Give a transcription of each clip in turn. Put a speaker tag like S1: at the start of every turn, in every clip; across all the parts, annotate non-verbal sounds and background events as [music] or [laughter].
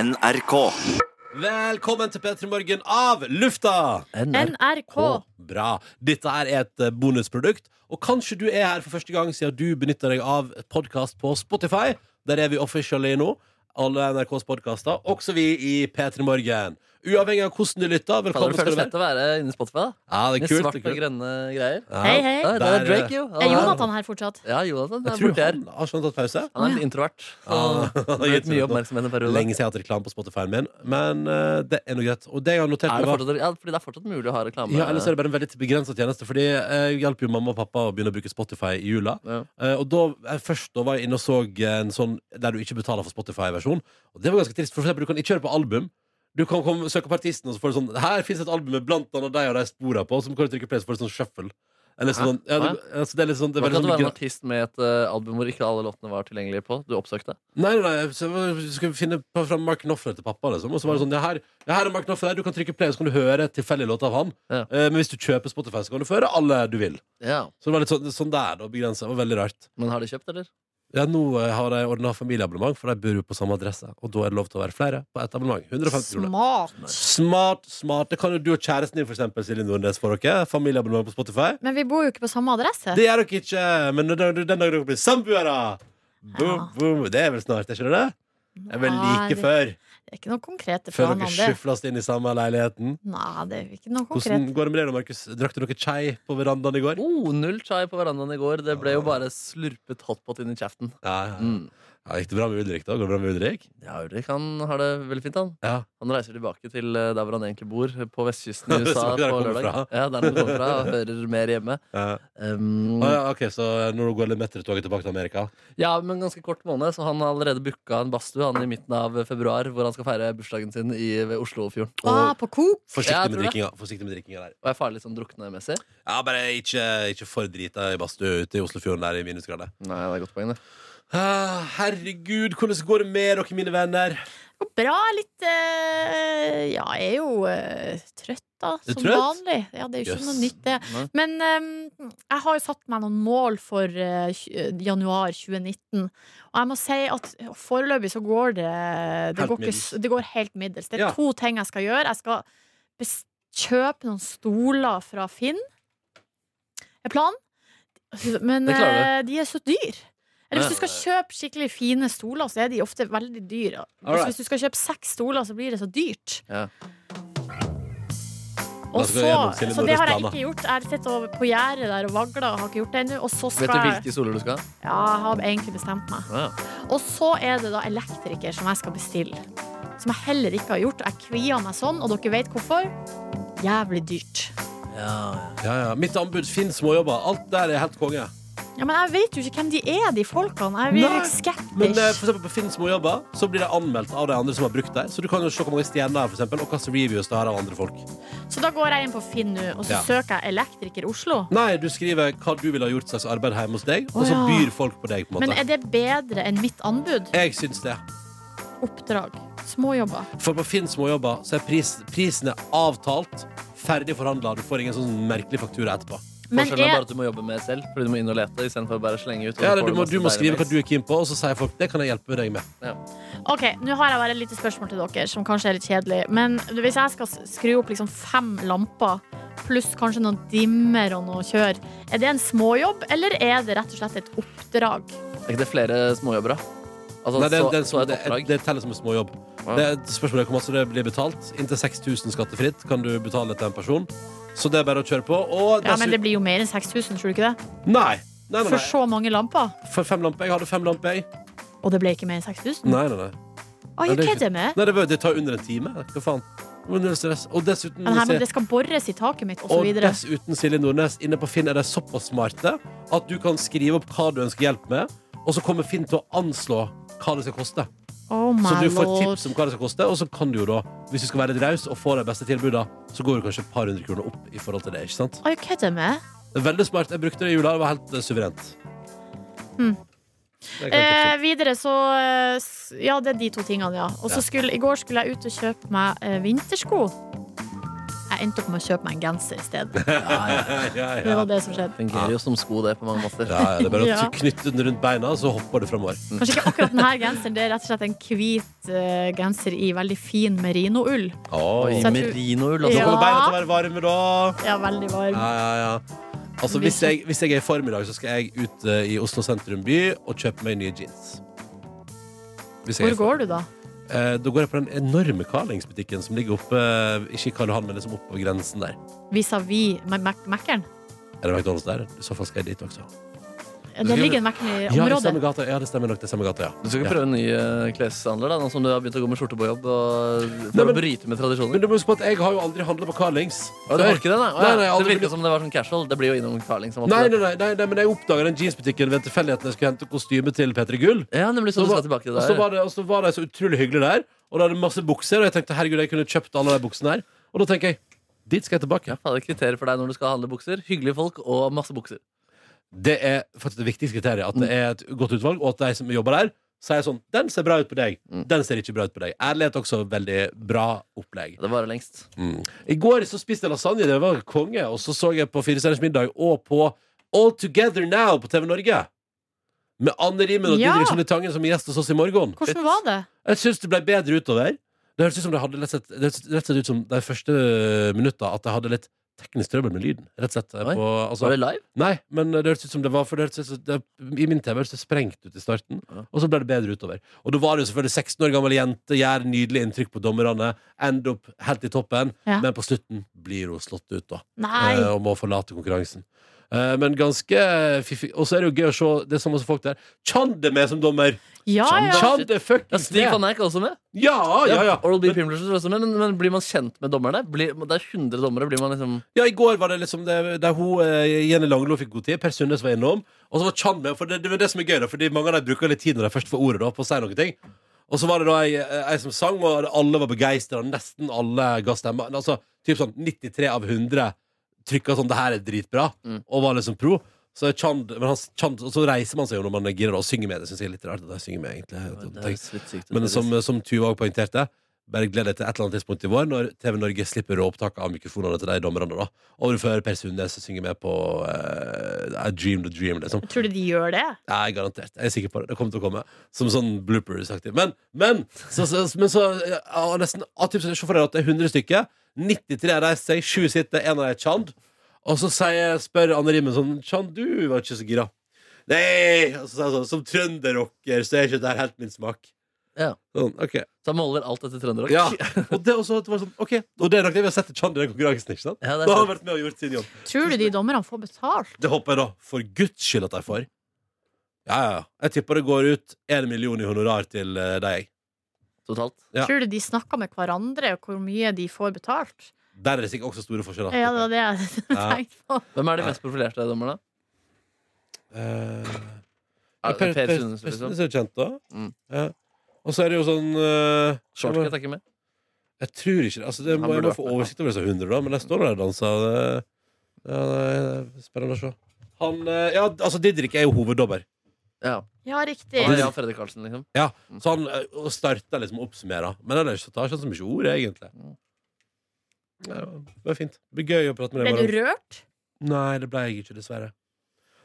S1: NRK.
S2: Velkommen til P3 Morgen av lufta!
S3: NRK.
S2: Bra. Dette her er et eh, bonusprodukt, og kanskje du er her for første gang siden du benytter deg av podkast på Spotify. Der er vi officially nå. Alle NRKs podkaster, også vi i P3 Morgen. Uavhengig av hvordan du lytter.
S4: Fader,
S2: Velkommen
S4: det
S2: skal
S4: føles
S2: du være.
S4: fett å være inne i Spotify. da
S2: Ja, det
S4: Med
S2: er kult.
S4: svarte
S2: Det er
S4: og
S2: kult.
S4: grønne greier.
S2: Ja.
S3: Hei, hei.
S4: Ja, det
S2: Der,
S4: er Drake, jo.
S3: Er Jonathan her fortsatt?
S4: Ja, Jonathan
S2: Jeg
S4: er
S2: tror
S4: borti her.
S2: han har skjønt at pause.
S4: Han er litt introvert. Så
S2: [laughs] Ah.
S4: det har gitt mye oppmerksomhet en periode.
S2: Lenge siden jeg har hatt reklame på Spotify-en min, men eh, det er nå greit. Og det jeg har notert
S4: Er
S2: meg
S4: det
S2: var-
S4: fortsatt, ja, fordi det er fortsatt mulig å ha reklame.
S2: Ja, ellers er det bare en veldig begrensa tjeneste. Fordi eh, jeg hjalp jo mamma og pappa å begynne å bruke Spotify i jula.
S4: Ja.
S2: Eh, og da, eh, Først da var jeg inne og så en sånn der du ikke betaler for Spotify-versjon. Og det var ganske trist, for, for eksempel, du kan ikke høre på album. Du kan komme, søke på artisten, og så får du sånn Her fins et album med blant annet deg og de spora på, og så kan du trykke play, så får du sånn shuffle. Eller sånn, ja, det, altså, det er litt sånn, det er
S4: Var det
S2: veldig
S4: ikke at
S2: sånn
S4: du var en artist med et eh, album hvor ikke alle låtene var tilgjengelige på? Du oppsøkte?
S2: Nei, nei, nei, så jeg skulle finne på- fram Mark Knopfler til pappa, liksom. Og så var det sånn ja, her, ja, her er Mark Knopfler, du kan trykke play, så kan du høre et tilfeldig låt av han.
S4: Ja.
S2: Eh, men hvis du kjøper Spotify, så kan du få høre alle du vil.
S4: Ja.
S2: Så det var litt sånn, sånn der, da, begrenset. Det var veldig rart.
S4: Men har de kjøpt, eller?
S2: Ja, nå eh, har de ordna familieabonnement, for de bor jo på samme adresse. Og da er det lov til å være flere på ett abonnement. 150 kroner.
S3: Smart.
S2: Smart, smart. Det kan jo du og kjæresten din, for eksempel, Silje Nordnes, få dere. Familieabonnement på Spotify.
S3: Men vi bor jo ikke på samme adresse.
S2: Det gjør dere ikke, men den dagen den dagen dere blir samboere boom,
S3: Ja.
S2: boom. Det er vel snart, er ikke det det? Det er vel
S3: Nei,
S2: like
S3: det-
S2: før.
S3: Det er ikke noe konkrete
S2: Før
S3: planer
S2: dere
S3: om det.
S2: skyfles inn i samme leiligheten.
S3: Nei, det er ikke noe
S2: Hvordan
S3: konkret.
S2: går det med deg, da, Markus? Drakk dere chai på verandaen i går?
S4: Oh, null chai på verandaen i går. Det ble jo bare slurpet hotpot inn i kjeften.
S2: Ja, Ah. ja.
S4: Mm.
S2: ja, Gikk det bra med Ulrik, da? Går det bra med Ulrik?
S4: Ja, Ulrik han har det veldig fint, han.
S2: Ja.
S4: Han reiser tilbake til eh, der hvor han egentlig bor, på vestkysten
S2: [laughs]
S4: i
S2: Det
S4: USA
S2: smaker der han
S4: på
S2: kommer
S4: lørdag.
S2: fra.
S4: Ja, der han kommer fra, og hører mer hjemme.
S2: ja.
S4: Um,
S2: Ah, ja, ok, Så når du går litt mettere toget tilbake til Amerika
S4: ja, men ganske kort måned, så han har allerede booka en badstue han i midten av februar, hvor han skal feire bursdagen sin i, ved Oslofjorden.
S3: Ah, på Coop?
S2: Forsiktig
S4: Ja, jeg
S2: med
S4: tror det.
S2: drikkinga. Forsiktig med drikkinga der
S4: Og er farlig sånn druknemessig.
S2: Ja, Bare ikke, ikke for drita i badstue ute i Oslofjorden der i minusgrader.
S4: Nei, det er godt poeng, det.
S2: Ah, herregud, hvordan går det med dere, mine venner?
S3: Jo, Bra. Litt eh, Ja, jeg er jo eh, trøtt, da.
S2: Er du
S3: Som
S2: trøtt?
S3: vanlig. Ja, det er jo ikke
S2: Jøss.
S3: noe nytt, det.
S4: Nei.
S3: Men eh, jeg har jo satt meg noen mål for eh, tj- januar 2019. Og jeg må si at foreløpig så går det eh, Det,
S2: Helt
S3: går, ikke,
S2: middels.
S3: s- det går helt middels. Det er
S2: Ja.
S3: to ting jeg skal gjøre. Jeg skal bes- kjøpe noen stoler fra Finn. Er planen. Men
S4: Det klarer
S3: eh, de er så dyr. Eller
S4: Ja.
S3: hvis du skal kjøpe skikkelig fine stoler, så er de ofte veldig dyre.
S2: Alright.
S3: Så hvis du skal kjøpe seks stoler, så blir det så dyrt.
S4: Ja.
S3: Og
S2: Da skal
S3: så,
S2: vi gjennom Silje
S3: så det har jeg
S2: Nordnes'
S3: ikke gjort. Jeg har sittet over på gjerdet der og vagla og har ikke gjort det ennå. Og så skal
S4: Vet du
S3: jeg
S4: hvilke soler du skal ha?
S3: Ja, jeg har egentlig bestemt meg.
S4: Ja.
S3: Og så er det da elektriker som jeg skal bestille. Som jeg heller ikke har gjort. Jeg kvier meg sånn, og dere vet hvorfor. Jævlig dyrt.
S2: Ja, ja, Mitt anbud Finn småjobber. Alt der er helt konge.
S3: Ja, Men jeg vet jo ikke hvem de er, de folkene. Jeg blir
S2: Nei,
S3: litt skeptisk.
S2: Men eh, for eksempel på Finn småjobber Så blir det anmeldt av de andre som har brukt dem. Så du kan jo se hvor mange stjerner her, for eksempel, og hva slags reviews det har av andre folk.
S3: Så da går jeg inn på Finn nå, og så
S2: Ja.
S3: søker jeg elektriker Oslo.
S2: Nei, du skriver hva du ville ha gjort slags arbeid hjemme hos deg, og
S3: Å,
S2: så
S3: ja.
S2: byr folk på deg. på en
S3: Men
S2: måte
S3: er det bedre enn mitt anbud?
S2: Jeg syns det.
S3: Oppdrag. Småjobber.
S2: For på Finn småjobber så er pris, prisen er avtalt, ferdig forhandla. Du får ingen sånn merkelig faktura etterpå.
S3: Men
S4: Forskjellen er bare
S3: er,
S4: at du må jobbe med selv, fordi du må inn og lete istedenfor bare slenge ut. og
S2: Ja,
S4: så
S2: eller
S4: får
S2: du må,
S4: masse
S2: du må
S4: deilig
S2: skrive hva
S4: mails.
S2: du er keen på, og så sier folk det kan jeg hjelpe deg med.
S3: ok, Nå har jeg bare et lite spørsmål til dere, som kanskje er litt kjedelig. Men hvis jeg skal skru opp liksom fem lamper, pluss kanskje noen dimmer og noe kjør, er det en småjobb, eller er det rett og slett et oppdrag?
S4: Er ikke det flere småjobber, da? Altså,
S2: Nei, det,
S4: så,
S2: det,
S4: så et
S2: det,
S4: oppdrag.
S2: det teller som en småjobb.
S4: Ja.
S2: Det er et spørsmål om hvor mye det blir betalt. Inntil 6000 skattefritt kan du betale til en person. Så det er bare å kjøre på. Og
S3: Ja, Men
S2: dessuten-
S3: det blir jo mer enn 6000, tror du ikke det?
S2: Nei! Nei, nei,
S3: For
S2: nei.
S3: så mange lamper.
S2: For fem lamper. Jeg hadde fem lamper, jeg.
S3: Og det ble ikke mer enn 6000?
S2: Nei, nei, nei.
S3: Are you
S2: Nei, det er ikke-
S3: kidding me?
S2: nei det, var- det tar under en time. Hva faen? Men null stress. Og dessuten
S3: Men her,
S2: se-
S3: men det skal bores i taket mitt, og så
S2: Og
S3: videre.
S2: dessuten, Silje Nordnes, inne på Finn er de såpass smarte at du kan skrive opp hva du ønsker hjelp med, og så kommer Finn til å anslå hva det skal koste.
S3: Oh my
S2: Så du får
S3: lord.
S2: tips om hva det skal koste, og så kan du jo da, hvis du skal være litt raus og få de beste tilbudene, så går du kanskje et par hundre kroner opp i forhold til det, ikke sant?
S3: Are you kidding me?
S2: Det er veldig smart. Jeg brukte det i jula, det var helt eh, suverent.
S3: Hmm.
S2: Det kan jeg
S3: Eh, videre så eh, s- Ja, det er de to tingene, ja. Og så
S2: Ja.
S3: skulle I går skulle jeg ut og kjøpe meg eh, vintersko. Jeg jeg endte opp med å kjøpe meg en genser i stedet.
S2: [laughs] Ja, ja,
S3: Det var det som skjedde.
S4: Fungerer jo som sko, det, på mange måter.
S2: Ja, ja, det er bare å
S3: [laughs] Ja.
S2: knytte den rundt beina, så hopper du framover.
S3: Kanskje ikke akkurat denne genseren. Det er rett og slett en hvit eh, genser i veldig fin
S4: Oi,
S3: merinoull.
S2: Oi.
S3: Så jeg tror-
S4: Merinoull,
S2: Så
S4: altså.
S2: kommer
S3: Ja.
S2: beina til å være varme, da.
S3: Ja, veldig varm.
S2: Ja, ja, ja. Altså, hvis jeg, hvis jeg er i form i dag, så skal jeg ut eh, i Oslo sentrum by og kjøpe meg nye jeans. Hvis jeg er i
S3: Hvor
S2: form.
S3: går du, da?
S2: Eh, da går jeg på den enorme Carlings-butikken som ligger oppe eh, Ikke i Karl Johan, men liksom oppe på grensen der.
S3: Vis-à-vis Mac- Mac- Mac-eren?
S2: Er det McDonald's der? I så fall skal jeg dit også.
S3: Det ligger en Mac-en i
S2: Ja, det
S3: området.
S2: stemmer, gata. ja, det stemmer nok. Det er samme gata, ja.
S4: Du skal ikke
S2: ja.
S4: prøve en ny eh, kleshandler, da, nå som du har begynt å gå med skjorte på jobb? Og, for
S2: Nei, men-
S4: å bryte med tradisjoner?
S2: Men du må huske på at jeg har jo aldri handla på Carlings.
S4: Å, du
S2: før.
S4: har ikke det, nei? Å,
S2: Nei,
S4: ja.
S2: nei, jeg har aldri
S4: det sånn. virka som det var sånn casual. Det blir jo innom Carling. Som
S2: Nei, nei, nei, nei, nei, men jeg oppdaga den jeansbutikken ved tilfeldigheten jeg skulle hente kostyme til P3 Gull.
S4: Ja, nemlig
S2: Så
S4: så du
S2: var-
S4: skal tilbake til
S2: Og så
S4: det der.
S2: var, det- og så var de så utrolig hyggelige der. Og da hadde de masse bukser, og jeg tenkte herregud, jeg kunne kjøpt alle de buksene her. Og da tenker jeg dit skal jeg tilbake.
S4: Fader, kriterier for deg når du skal handle bukser. Hyggelige folk og masse bukser.
S2: Det er faktisk det viktigste kriteriet. At det
S4: Mm.
S2: er et godt utvalg, og at de som jobber der, sier sånn Den ser bra ut på deg.
S4: Mm.
S2: Den ser ikke bra ut på deg. Ærlighet også veldig bra opplegg.
S4: Det varer lengst.
S2: I går så spiste jeg lasagne. Det var konge. Og så så jeg på Fire stjerners middag og på All Together Now på TV Norge. Med Anne Rimmen og
S3: Ja.
S2: Didrik Solli Tangen som gjest hos oss i morgen.
S3: Hvordan var det?
S2: Jeg syns det ble bedre utover. Det høres ut som det hadde rett og slett, det hørtes rett og slett ut som de første eh, minutta at jeg hadde litt teknisk trøbbel med lyden. Rett og slett
S4: Oi.
S2: på, altså,
S4: Var det live?
S2: Nei, men det hørtes ut som det var For det hørtes ut som det, I min TV hørtes det sprengt ut i starten,
S4: Ja.
S2: og så ble det bedre utover. Og da var det jo selvfølgelig 16 år gammel jente, gjør nydelig inntrykk på dommerne, ender opp helt i toppen,
S3: Ja.
S2: men på slutten blir hun slått ut, da
S3: Nei.
S2: eh, og må forlate konkurransen. Eh, Men ganske fiffig. Og så er det jo gøy å se det er så masse folk der. Tjande med som dommer!
S3: Ja, ja.
S2: Tjande
S4: Ja,
S2: fuckings
S4: Stig
S2: med!
S4: van Eyck er også med.
S2: Ja, ja, ja.
S4: Oral B. Pimblers er også med. Men, men blir man kjent med dommerne? Blir, det er 100 dommere. Blir man liksom
S2: Ja, I går var det liksom det, der hun, eh, Jenny Langlo fikk god tid, Per Sundnes var innom. Og så var Chan med. For det, det, var det som er gøy, da, fordi mange av dem bruker litt tid når de først får ordet, da, på å si noen ting. Og så var det da ei, ei som sang, og alle var begeistra. Nesten alle ga stemme. Altså, typ sånn 93 av 100 trykka sånn 'det her er dritbra',
S4: Mm.
S2: og var liksom pro. Så Chan, men han, Chan, og så reiser man seg jo når man girer og synger med. Det syns jeg er litt rart. at jeg synger med egentlig
S4: Det er jo litt sykt,
S2: Men
S4: tydeligvis.
S2: som, som Tuva også poengterte, bare gled deg til et eller annet tidspunkt i vår når TV Norge slipper råopptak av mikrofonene til de dommerne. da Og du får Per Sundnes synge med på eh, I Dream the Dream, liksom.
S3: Tror du de gjør det?
S2: Nei, garantert. Jeg er sikker på det. Det kommer til å komme. Som sånn bloopers-aktig. Men, men så, så, men så ja, og nesten, ja, typ, så- Se for deg at det er 100 stykker. 93 har reist seg, 7 sitter, en av dem er Chand. Og så sier, spør Anne Rimmen sånn Chand, du var ikke så gira. Nei! Og så sier han sånn Som trønderrocker så er ikke dette helt min smak.
S4: Ja.
S2: Sånn, ok
S4: Så han måler alt etter trønderrock? [laughs]
S2: ja. Og det, er også, at det var sånn, ok. og det er nok det vi har sett til Chand i den konkurransen. ikke sant?
S4: Ja,
S2: [laughs]
S4: det
S2: Da
S4: er
S2: har han
S4: sant.
S2: vært med og gjort sin jobb.
S3: Tror du de dommerne får betalt?
S2: Det håper jeg da, for guds skyld at de får. Ja, ja, ja. Jeg tipper det går ut én million i honorar til eh, deg.
S4: Totalt.
S2: Ja.
S3: Tror du de snakker med hverandre og hvor mye de får betalt?
S2: Der er det sikkert også store forskjeller.
S3: Ja, det var det jeg [laughs]
S2: Ja.
S3: tenkte på.
S4: Hvem er de
S2: Ja.
S4: mest profilerte dommerne?
S2: Eh,
S4: Er det
S2: per, per,
S4: Per Sundnes,
S2: Eh, Per
S4: liksom.
S2: Sundnes er jo kjent, da.
S4: Mm.
S2: Ja. Og så er det jo sånn eh,
S4: Shortcut er ikke med.
S2: Jeg tror ikke det. Altså, det
S4: Han
S2: må, jeg
S4: burde
S2: må
S4: vært
S2: få
S4: med, ja.
S2: oversikt over disse 100, da, men jeg står der og danser. Det, ja, det er spennende å se. Han, eh, ja, altså Didrik er jo hoveddobber.
S4: Ja.
S3: Ja, riktig.
S4: Han er ja, Fredrik Karlsen, liksom.
S2: Ja, Så han eh, og starter liksom å oppsummere. Men ellers så tar han ikke så mye ord, egentlig. Nei, det var fint. Det blir gøy å prate med
S3: Ble
S2: deg.
S3: du
S2: i morgen.
S3: rørt?
S2: Nei, det ble jeg ikke, dessverre.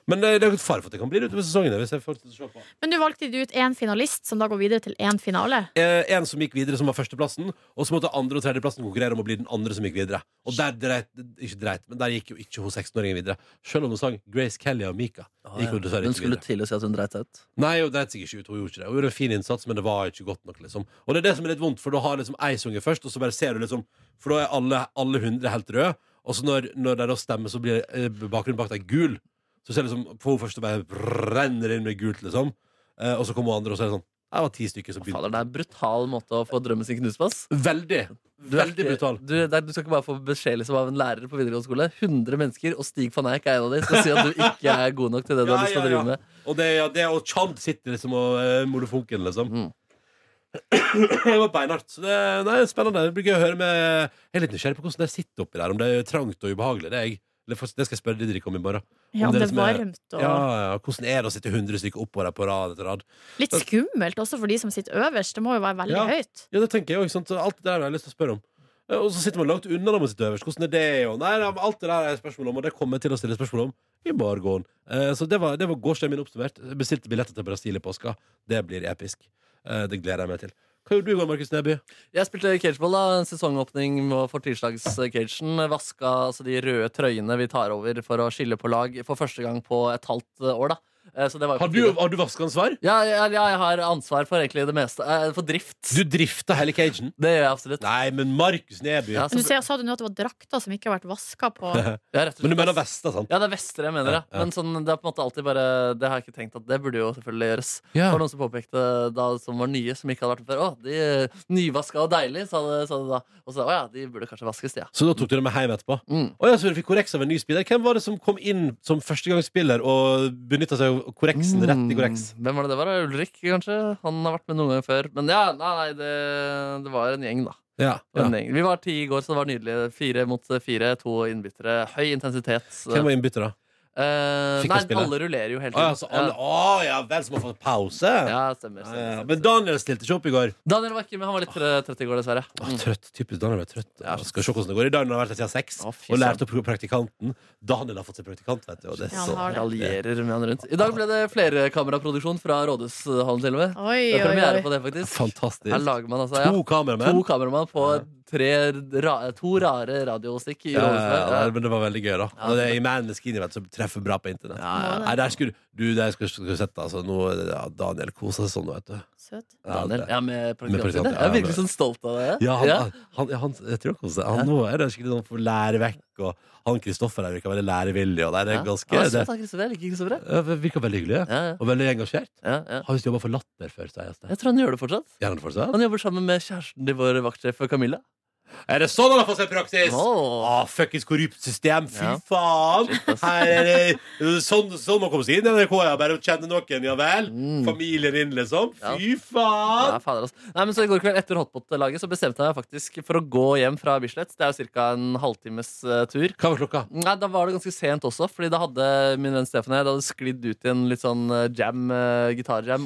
S2: Men eh, det er jo et fare for at det kan bli det utover sesongen. Hvis jeg fortsetter å se på
S3: Men du valgte ut én finalist, som da går videre til én finale.
S2: eh, En som gikk videre, som var førsteplassen, og så måtte andre- og tredjeplassen konkurrere om å bli den andre som gikk videre. Og der dreit, ikke dreit, men der gikk jo ikke hun 16-åringen videre. Selv om hun sang Grace Kelly og Mika. Gikk hun dessverre
S4: Hun
S2: ikke
S4: skulle
S2: videre.
S4: til å si at hun dreit seg ut.
S2: Nei, hun dreit seg ikke ut. Hun gjorde ikke det. Hun gjorde en fin innsats, men det var ikke godt nok. liksom Og det er det som er litt vondt, for da har liksom ei sunget først, og så bare ser du liksom For da er alle, alle hundre helt røde, og så når, når de da stemmer, så blir eh, bakgrunnen bak deg gul. Så ser du liksom på hun første bare renner det inn med gult, liksom. Eh, og så kommer hun andre, og så er det sånn Det var ti stykker som begynte.
S4: Fader, det er en brutal måte å få drømmen sin knust på. ass.
S2: Veldig.
S4: Du er
S2: Veldig
S4: ikke-
S2: brutal.
S4: Du, det er- du skal ikke bare få beskjed liksom, av en lærer på videregående skole. 100 mennesker, og Stig van Eyck er en av dem. Skal si at du ikke er god nok til det du
S2: Ja,
S4: har lyst til å
S2: ja, ja.
S4: drive med.
S2: Og det, ja, det og Chand sitter liksom og uh, molefonken, liksom.
S4: Mm.
S2: det var beinhardt. Så det, nei, det er spennende. Det blir gøy å høre med Jeg er litt nysgjerrig på hvordan det sitter oppi der, om det er trangt og ubehagelig. Det, er jeg, det får- det skal jeg spørre Didrik om i morgen.
S3: Ja,
S2: Om
S3: det
S2: det
S3: er
S2: som er-
S3: varmt og
S2: Ja, ja, Hvordan er det å sitte 100 stykker oppå der på rad etter rad?
S3: Litt skummelt også for de som sitter øverst. Det må jo være veldig
S2: Ja.
S3: høyt.
S2: Ja, det tenker jeg også, sant? Alt det der har jeg lyst til å spørre om. Eh, Eh, Og så sitter man langt unna når man sitter øverst. Hvordan er det? Og nei, nei, men alt det der er spørsmål om, og det kommer jeg til å stille spørsmål om i morgen. Eh, Så det var, det var gårsdagen min oppsummert. Jeg Bestilte billetter til Brasil i påska. Det blir episk. Eh, Det gleder jeg meg til. Hva gjorde du i går, Markus Neby?
S4: Jeg spilte cageball, da. En Sesongåpning for tirsdagscagen. Vaska altså, de røde trøyene vi tar over for å skille på lag for første gang på et halvt år, da. Eh, Så det var jo på
S2: Har du,
S4: tide.
S2: har du vaskeansvar?
S4: ja, ja, ja, jeg har ansvar for egentlig det meste. eh, For drift.
S2: Du drifter hele cagen?
S4: Det gjør jeg absolutt.
S2: Nei, men Markus Neby.
S4: Ja, så,
S3: Du ser, sa du nå at det var drakter som ikke har vært vaska
S2: [laughs]
S3: på
S4: ja, rett og slett.
S2: Men du mener vester, sant?
S4: Ja, det er vestre jeg mener,
S2: Ja,
S4: ja.
S2: ja.
S4: Men sånn, det er på en måte alltid bare Det har jeg ikke tenkt at det burde jo selvfølgelig gjøres. Det var noen som påpekte da som var nye, som ikke hadde vært med før. Å, de eh, nyvaska og deilig, sa det, sa det da. Og så å ja, de burde kanskje vaskes, de, ja.
S2: Så da tok du det med hjem etterpå?
S4: Mm.
S2: Å ja, så du fikk korreks av en ny spiller. Hvem var det som kom inn som førstegangsspiller og benytta seg av korreksen rett i korreks?
S4: Mm. Hvem var det det var? Ulrik, kanskje? Han har vært med noen ganger før. Men ja, nei, nei det, det var en gjeng, da.
S2: Ja,
S4: Det var
S2: ja.
S4: En gjeng. Vi var ti i går, så det var nydelig. Fire mot fire, to innbyttere. Høy intensitet.
S2: Hvem var innbytter, da?
S4: Eh,
S2: Fikk
S4: nei,
S2: jeg spille?
S4: alle rullerer jo hele
S2: Å Ah, ja, så alle,
S4: tiden.
S2: å, ja vel, så må man få pause?
S4: Ja, ja stemmer.
S2: Ja, ja.
S4: stemmer, stemmer,
S2: Men Daniel stilte ikke opp i går.
S4: Daniel var ikke med, han var litt tre- trøtt i går, dessverre.
S2: Å, trøtt, Typisk Daniel er trøtt.
S4: Ja.
S2: Jeg skal se hvordan det går i dag når han har vært her siden seks
S4: Å, fy
S2: og
S4: søren.
S2: lært opp praktikanten. Daniel har fått seg praktikant, vet du. Og det er
S3: Ja, han
S2: så...
S3: har det.
S4: Raljerer med han rundt. I dag ble det flerkameraproduksjon fra Rådhushallen til og med.
S3: Oi,
S4: Det er
S3: oi,
S4: premiere
S3: oi.
S4: på det, faktisk.
S2: Fantastisk.
S4: Her lager man altså ja,
S2: To kameramenn.
S4: to kameramann på tre, ra, to rare radiostikk i
S2: Ja, ja, ja,
S4: Rådhuset.
S2: men det var veldig gøy, da.
S4: Ja.
S2: Og det er I Man is Skinny, vet du, som treffer bra på internett.
S4: Ja, ja.
S2: Nei, der skulle du der skulle, skulle sett altså, nå, ja, Daniel koser seg sånn, vet du.
S3: Søt.
S2: Ja,
S4: Daniel,
S2: det-
S4: ja, med
S2: praktikant,
S4: praktikanten. Jeg
S2: ja,
S4: er virkelig
S2: men-
S4: sånn stolt av deg.
S2: ja, han, han, ja, han, jeg tror han koser seg. Han, nå er det skikkelig sånn for lære vekk, og han Kristoffer her virker veldig lærevillig, og det er ganske det,
S4: Jeg liker Kristoffer. jeg.
S2: ja, Virker veldig hyggelig,
S4: Ja, ja,
S2: og veldig engasjert.
S4: ja, ja.
S2: Har visst jobba for Latter før, sier jeg.
S4: Jeg tror han gjør det fortsatt.
S2: Gjør han det fortsatt?
S4: Han jobber sammen med kjæresten til vår vaktsjef Camilla.
S2: Er det sånn han har fått seg praksis?
S4: Åh.
S2: Ah, Fuckings korrupt system, fy
S4: Ja.
S2: faen!
S4: ass.
S2: Her er det sånn, sånn man kommer seg inn i NRK, ja. Bare å kjenne noen, ja vel.
S4: Mm.
S2: Familien din, liksom.
S4: Ja.
S2: Fy faen!
S4: Ja, fader, altså. Nei, men så I går kveld etter Hotpot-laget Så bestemte jeg meg faktisk for å gå hjem fra Bislett. Det er jo ca. en halvtimes eh, tur.
S2: Hva var klokka?
S4: Nei, Da var det ganske sent også, Fordi da hadde min venn Stefan og jeg det hadde sklidd ut i en litt sånn eh, jam, eh, gitarjam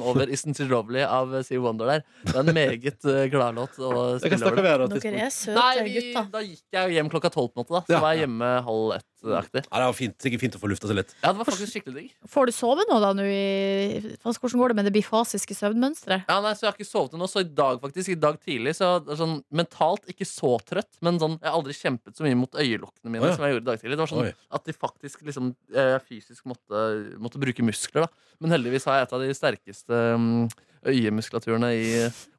S2: [laughs]
S4: over Isn't It Lovely av eh, Stevie Wonder der. Det er en meget eh, gladlåt å
S2: Jeg kan snakke
S4: spille
S2: med
S4: over.
S2: dere om et tidspunkt.
S3: Dere er søte
S4: Nei, vi,
S3: gutter.
S4: da gikk jeg jo hjem klokka tolv, på en måte. da Så
S2: Ja,
S4: var
S2: ja.
S4: jeg hjemme halv ett-aktig.
S2: Ja, det var fint, sikkert fint å få lufta seg litt.
S4: Ja, det var faktisk skikkelig digg.
S3: Får du sove nå, da? Nå i, Fas- hvordan går det med det bifasiske søvnmønsteret?
S4: Ja, nei, så Jeg har ikke sovet ennå, så i dag faktisk, i dag tidlig så jeg var sånn, mentalt ikke så trøtt. Men sånn, jeg har aldri kjempet så mye mot øyelokkene mine
S2: Å, ja.
S4: som jeg gjorde i dag tidlig. Det var sånn
S2: Oi.
S4: at de faktisk liksom, eh, fysisk måtte, måtte bruke muskler. da Men heldigvis har jeg et av de sterkeste mm, øyemuskulaturene i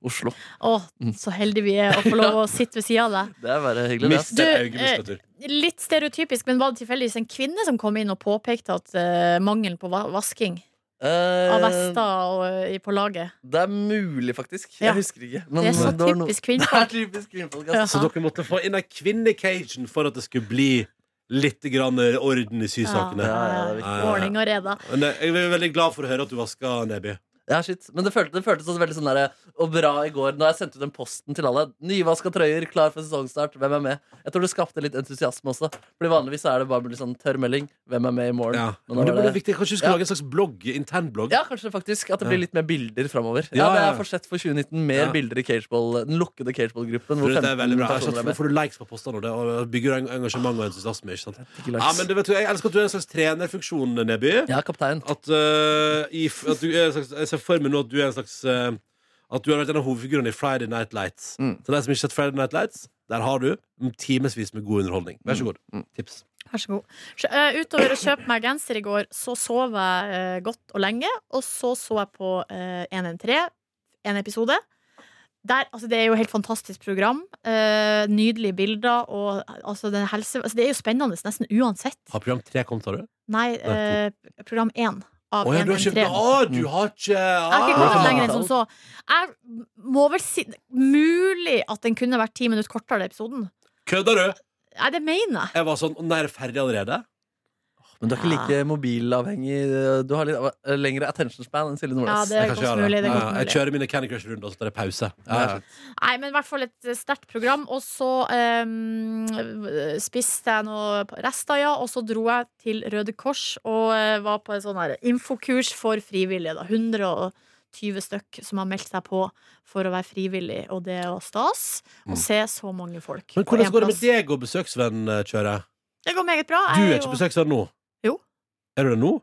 S4: Oslo.
S3: Å,
S2: Mm.
S3: så heldige vi er å få lov å sitte ved sida av deg.
S4: Det er bare hyggelig. Det.
S3: Du,
S2: Mister øyemuskulatur.
S3: Litt stereotypisk, men var det tilfeldigvis en kvinne som kom inn og påpekte at eh, mangelen på va vasking av
S4: Eh,
S3: vester og, eh, på laget?
S4: det er mulig, faktisk.
S3: Ja.
S4: Jeg husker ikke.
S3: Det
S4: men
S3: er så
S4: var noe-
S3: typisk
S4: [laughs] Det
S3: kvinnfolk.
S4: er typisk kvinnfolk.
S3: Ja.
S4: Altså.
S2: Så dere måtte få inn ei kvinne-cajun for at det skulle bli litt grann orden i sysakene.
S4: Ja, ja, det er
S3: ja.
S2: viktig.
S3: Ordning og reda.
S2: Men eh, jeg er veldig glad for å høre at du vaska Neby.
S4: Ja, shit. Men det føltes, det føltes også veldig sånn der, og bra i går. Når jeg sendte ut den posten til alle. Nyvaska trøyer, klar for sesongstart. Hvem er med? Jeg tror det skapte litt entusiasme også. Fordi vanligvis så er det bare litt sånn tørr melding. Hvem er med i morgen?
S2: Ja. Men det,
S4: Men nå var
S2: men det
S4: det-
S2: er viktig, Kanskje du skal
S4: Ja.
S2: lage en slags blogg? Internblogg?
S4: ja, kanskje faktisk at det blir litt mer bilder framover. Ja,
S2: Ja,
S4: det
S2: ja.
S4: er forsett for 2019. Mer
S2: Ja.
S4: bilder i cageball, den lukkede cageballgruppen.
S2: For
S4: Hvor
S2: dette er
S4: 15
S2: veldig bra.
S4: personer er
S2: Nå
S4: med.
S2: får du likes på postene, og det og bygger eng- engasjement og entusiasme. Ikke sant?
S4: Ikke
S2: Ja,
S4: laks.
S2: men du vet, jeg elsker at du er en slags trenerfunksjon, Neby.
S4: Ja, kaptein.
S2: At, øh, i, f- at du er en slags, Jeg ser for meg nå at du er en slags øh, At du har vært en av hovedfigurene i Friday Night Lights.
S4: Mm.
S2: Så de som ikke har sett Friday Night Lights, der har du timevis med god underholdning. Vær så god. Tips.
S3: Vær så god. Så, eh, utover å kjøpe meg genser i går, så sov jeg eh, godt og lenge. Og så så jeg på eh, 113, en episode. Der, altså, det er jo et helt fantastisk program. eh, nydelige bilder. Og, altså, den helse, altså, det er jo spennende nesten uansett.
S2: Har program tre kommet, har du?
S3: Nei, eh, program én av
S2: Å ja, du har
S3: 113.
S2: ikke Å, du har ikke
S3: Jeg har ikke kommet
S4: Ah.
S3: lenger enn som så. Jeg må vel si Mulig at den kunne vært ti minutter kortere, den episoden.
S2: Kødder du?
S3: Nei, det mener jeg.
S2: Jeg var sånn Nei, er det ferdig allerede?
S4: Men du er ikke
S2: Ah.
S4: like mobilavhengig. Du har litt eh, lengre attention span enn Silje
S3: Ja,
S4: Nordnes.
S3: det er
S2: Jeg kan ikke
S3: godt
S2: gjøre
S3: mulig. Det er
S2: Ja,
S3: godt
S2: Jeg
S3: mulig.
S2: kjører mine Candy Crush-runder, og så tar jeg pause. Ja, ja.
S3: Nei, men i hvert fall et sterkt program. Og så eh, spiste jeg noe rester, ja. Og så dro jeg til Røde Kors og eh, var på en sånn her infokurs for frivillige. da 120 20 stykk som har meldt seg på for å være frivillig, og det er jo stas å
S2: Mm.
S3: se så mange folk.
S2: Men
S3: på
S2: hvordan
S3: en
S2: går det med
S3: plass.
S2: deg og besøksvennkjøret?
S3: Det går meget bra.
S2: Du
S3: Jeg
S2: er ikke besøksvenn nå?
S3: Jo.
S2: Er du det nå?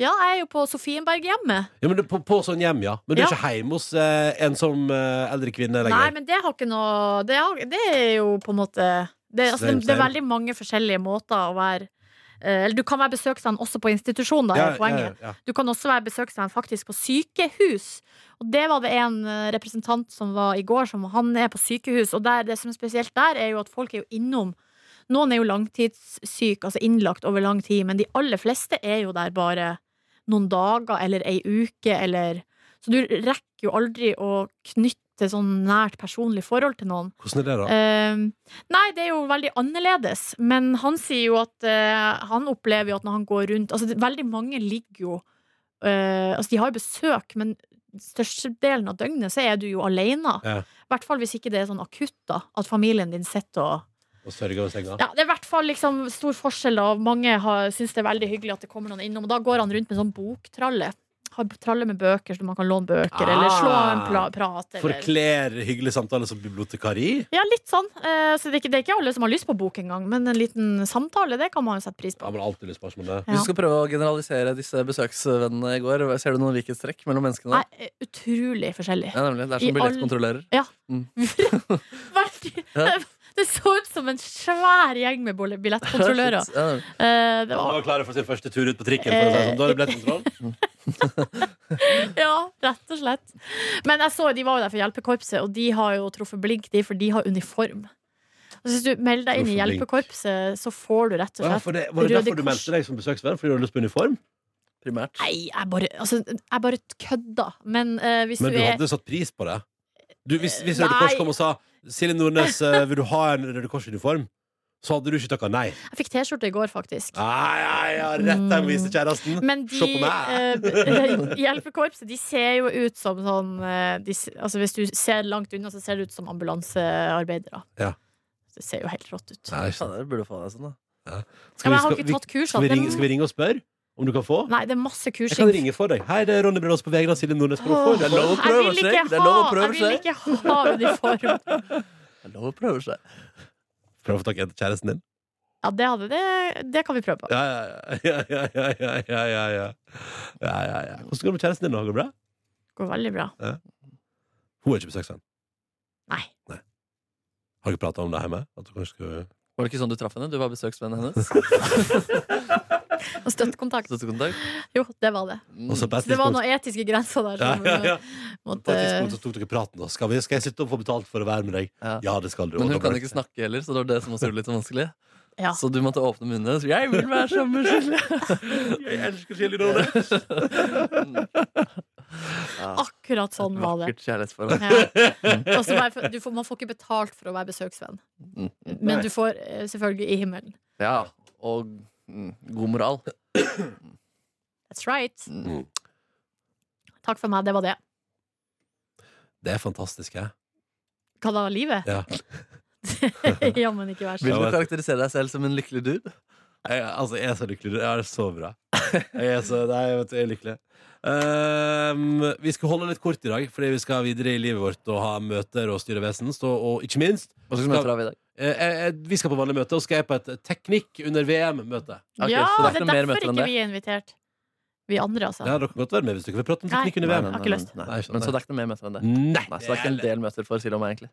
S3: Ja, jeg er jo på Sofienberghjemmet.
S2: Ja, men du, på, på sånn hjem, ja. Men du er
S3: Ja.
S2: ikke hjemme hos eh, en som eh, eldre kvinne
S3: Nei,
S2: lenger?
S3: men det har ikke noe Det, har, det er jo på en måte det, altså,
S2: Same,
S3: det, det er
S2: same.
S3: veldig mange forskjellige måter å være eh, Eller du kan være besøksvenn også på institusjon, da,
S2: ja,
S3: er poenget.
S2: Ja, ja.
S3: Du kan også være besøksvenn faktisk på sykehus. Og det var det en eh, representant som var i går, som han er på sykehus. Og der, det som er spesielt der, er jo at folk er jo innom. Noen er jo langtidssyk, altså innlagt over lang tid, men de aller fleste er jo der bare noen dager eller ei uke eller Så du rekker jo aldri å knytte sånn nært personlig forhold til noen.
S2: Hvordan er det, da?
S3: Ehm, nei, det er jo veldig annerledes. Men han sier jo at eh, han opplever jo at når han går rundt Altså, det, veldig mange ligger jo eh, Altså, de har jo besøk, men størstedelen av døgnet så er du jo alene. I
S2: Ja.
S3: hvert fall hvis ikke det er sånn akutt, da. At familien din sitter og
S2: Å sørge over senga?
S3: ja, Det er i hvert fall liksom stor forskjell, da. og Mange har- syns det er veldig hyggelig at det kommer noen innom. Og da går han rundt med sånn boktralle. Har tralle med bøker, så man kan låne bøker, eller slå en pla
S2: Ah.
S3: prat. Eller.
S2: Forkler hyggelig samtale som bibliotekari?
S3: Ja, litt sånn. Eh, Så det er, ikke, det er ikke alle som har lyst på bok engang, men en liten samtale, det kan man jo sette pris
S2: Ja,
S3: på.
S2: men alltid lyst på spørsmål.
S3: Ja.
S4: Hvis du skal prøve å generalisere disse besøksvennene i går, ser du noen likhetstrekk mellom menneskene?
S3: Nei, eh, utrolig forskjellig. [laughs]
S4: Ja, nemlig. Det er
S3: I
S4: som
S3: all-
S4: billettkontrollører.
S3: Veldig-
S4: Ja.
S3: [laughs] Det så ut som en svær gjeng med bolle- billettkontrollører.
S4: Ja, nemlig.
S3: Eh, Det
S2: Han
S3: var Eh,
S2: var klare for sin første tur ut på trikken. For å si det sånn. Da er det billettkontroll.
S3: Ja, rett og slett. Men jeg så de var jo der for hjelpekorpset, og de har jo truffet blink, de, for de har uniform. Altså, hvis du melder deg inn i
S2: Truffet blink.
S3: hjelpekorpset, så får du rett og
S2: Ja,
S3: slett
S2: for det, var det
S3: Røde
S2: derfor du
S3: Kors.
S2: meldte deg som besøksvenn? Fordi du hadde lyst på uniform?
S4: Primært.
S3: Nei, jeg bare, altså, jeg bare kødda. Men eh, hvis
S2: Men
S3: du
S2: du
S3: er
S2: hadde satt pris på det? Du, hvis, hvis
S3: Eh,
S2: Røde Kors
S3: nei.
S2: kom og sa Silje Nordnes, eh, vil du ha en Røde Kors-uniform? Så hadde du ikke takka nei.
S3: Jeg fikk T-skjorte i går, faktisk.
S2: Nei, nei, ja, rett den viste kjæresten.
S3: Mm. Men de
S2: Se på meg.
S3: eh, [laughs] hjelpekorpset de ser jo ut som sånn eh, de, s- altså Hvis du ser langt unna, så ser det ut som ambulansearbeidere.
S2: Ja.
S3: Det ser jo helt rått ut.
S2: Nei,
S4: Faen, jeg burde få deg sånn, da.
S3: Ja, men jeg har
S2: skal
S3: ikke
S2: vi-
S3: tatt kurs. altså.
S2: Skal vi,
S3: da.
S2: ringe, skal vi ringe og spørre om du kan få?
S3: Nei, det er masse
S2: Jeg
S3: kursing.
S2: kan ringe for deg. Hei, det er Ronny Brødås på vegne av Silje Nordnes. Kan du få
S3: Åh,
S2: det?
S4: er lov å
S3: jeg
S4: prøve
S3: vil
S4: seg.
S3: ikke
S4: Det er
S3: ha,
S4: lov å prøve
S3: jeg vil
S4: seg.
S3: ikke ha uniform.
S4: Det er lov å prøve seg.
S2: Prøv å få tak i kjæresten din.
S3: Ja, det, hadde, det, det kan vi prøve på.
S2: Ja, ja, ja, ja, ja, ja, ja, ja. ja, ja, ja. Hvordan går det med kjæresten din? nå? Går det bra?
S3: Det går veldig bra.
S2: Hun er ikke besøksvenn.
S3: Nei.
S2: Har dere prata om det hjemme? At du kanskje skal...
S4: Var det ikke sånn du traff henne? Du var besøksvennen
S3: [laughs]
S4: hennes?
S3: Og støttekontakt.
S4: Støttekontakt?
S3: Jo, det var det.
S4: Mm.
S2: Og så på et
S3: Så det var
S2: tidspunkt-
S3: noen etiske grenser der
S2: Ja,
S3: som eh,
S2: ja,
S4: [laughs]
S2: ja. På
S3: måtte
S2: et tidspunkt så tok dere praten. da. Skal, vi, skal jeg sitte og få betalt for å være med deg?
S4: Ja.
S2: Ja, det skal du.
S4: Men
S2: Og
S4: hun
S2: da
S4: kan
S2: ble-
S4: ikke snakke heller, så det var det som også gjorde det litt sånn vanskelig.
S3: Ja.
S4: Så du måtte åpne munnen hennes. Jeg vil være
S3: [laughs]
S4: sammen med
S2: Jeg elsker Silje Nordnes!
S3: Akkurat sånn var det.
S4: Vakkert kjærlighetsforhold.
S3: Ja. Og så bare, du får, man får ikke betalt for å være besøksvenn.
S4: Mm.
S3: Men du får eh, selvfølgelig i himmelen.
S4: Ja, og mm, god moral.
S3: That's right.
S2: Mm.
S3: Takk for meg, det var det.
S2: Det er fantastisk, hæ?
S3: Hva da, livet?
S2: Ja.
S3: [laughs] Jammen ikke verst.
S4: Vil du
S2: Ja, men-
S4: karakterisere deg selv som en lykkelig dude?
S2: Jeg, altså, jeg er så lykkelig. Jeg er så bra. Jeg er så, nei, vet du, jeg er lykkelig. Ehm, vi skal holde litt kort i dag, fordi vi skal videre i livet vårt og ha møter og styrevesen. stå- og ikke minst
S4: Hva slags møter har vi i dag?
S2: eh, eh, Vi skal på vanlig møte, og skal jeg på et teknikk under VM-møte.
S4: Ok, så
S3: ja,
S4: det er ikke
S3: det er
S4: noe mer
S3: derfor
S4: møter enn
S3: ikke
S4: det?
S3: vi er invitert. Vi andre, altså.
S2: Ja, dere kan godt være med hvis dere vil prate om teknikk under
S4: Nei,
S2: VM.
S4: nei,
S3: Har ikke
S4: nei,
S3: lyst.
S4: nei.
S2: Nei, skjønner.
S4: Men så det er ikke noe mer møter enn det?
S2: Nei,
S4: Nei, så det er ikke en del møter for Silje og meg, egentlig.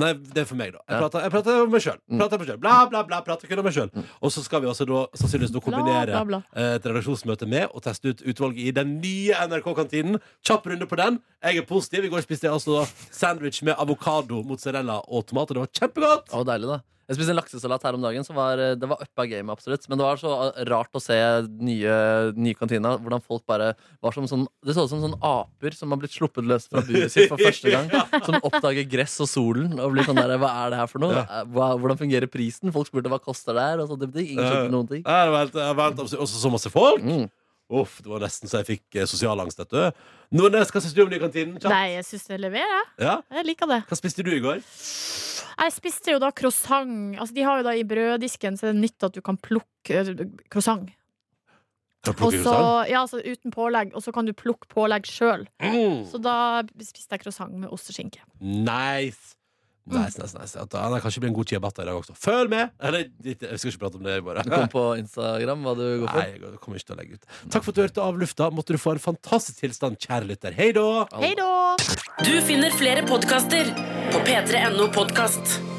S2: Nei, det er for meg, da. Jeg
S4: Ja. Mm.
S2: prater, jeg prater om meg sjøl. Prater om meg selv. Bla, bla, bla. prater kun om meg selv. Og så skal vi altså da sannsynligvis nå kombinere
S3: Bla, bla, bla.
S2: eh, et redaksjonsmøte med og teste ut utvalget i den nye NRK-kantinen. Kjapp runde på den. Jeg er positiv. I går spiste jeg altså da sandwich med avokado, mozzarella og tomat, og det var kjempegodt!
S4: Å, deilig da Jeg spiste en laksesalat her om dagen som var, eh, Det var uppe av game, absolutt Men det var så eh, rart å se nye, nye kantina Hvordan folk bare var som sånn Det så ut som sånne aper som har blitt sluppet løs fra buret sitt For første gang Som oppdager gress og solen Og blir sånn der, hva er det her for noe? Eh, Hva, hvordan fungerer prisen? Folk spurte hva koster det her Og så det betyr
S2: Eh.
S4: ingen skjønte noen ting
S2: Ja, det var helt- det var helt absurd. Også så masse folk.
S4: Mm.
S2: Uff, det var nesten så jeg fikk eh, sosial angst, vet du. Nordnes, hva syns du om nye kantinen? Kjapt.
S3: Nei, jeg syns det leverer, jeg.
S2: Ja?
S3: Jeg liker det.
S2: Hva spiste du i går?
S3: Jeg spiste jo da croissant. Altså, de har jo da i brøddisken, så det er nytt at du kan plukke eh, croissant.
S2: Kan
S3: Og
S2: plukke
S3: så,
S2: croissant.
S3: ja, så uten pålegg, og så kan du plukke pålegg sjøl.
S2: Mm.
S3: Så da spiste jeg croissant med ost og skinke.
S2: Nice. Nice, nice, nice. At det kanskje blir en god ciabatta i dag også. Følg med! Eller, litt- jeg skal ikke prate om det, bare.
S4: Du kom på Instagram hva du
S2: Nei,
S4: går for.
S2: jeg kommer ikke til å legge ut. Takk for at du hørte av lufta. Måtte du få en fantastisk tilstand, kjære lytter. Hei da!
S3: Hei da!
S1: Du finner flere podkaster på p3.no podkast.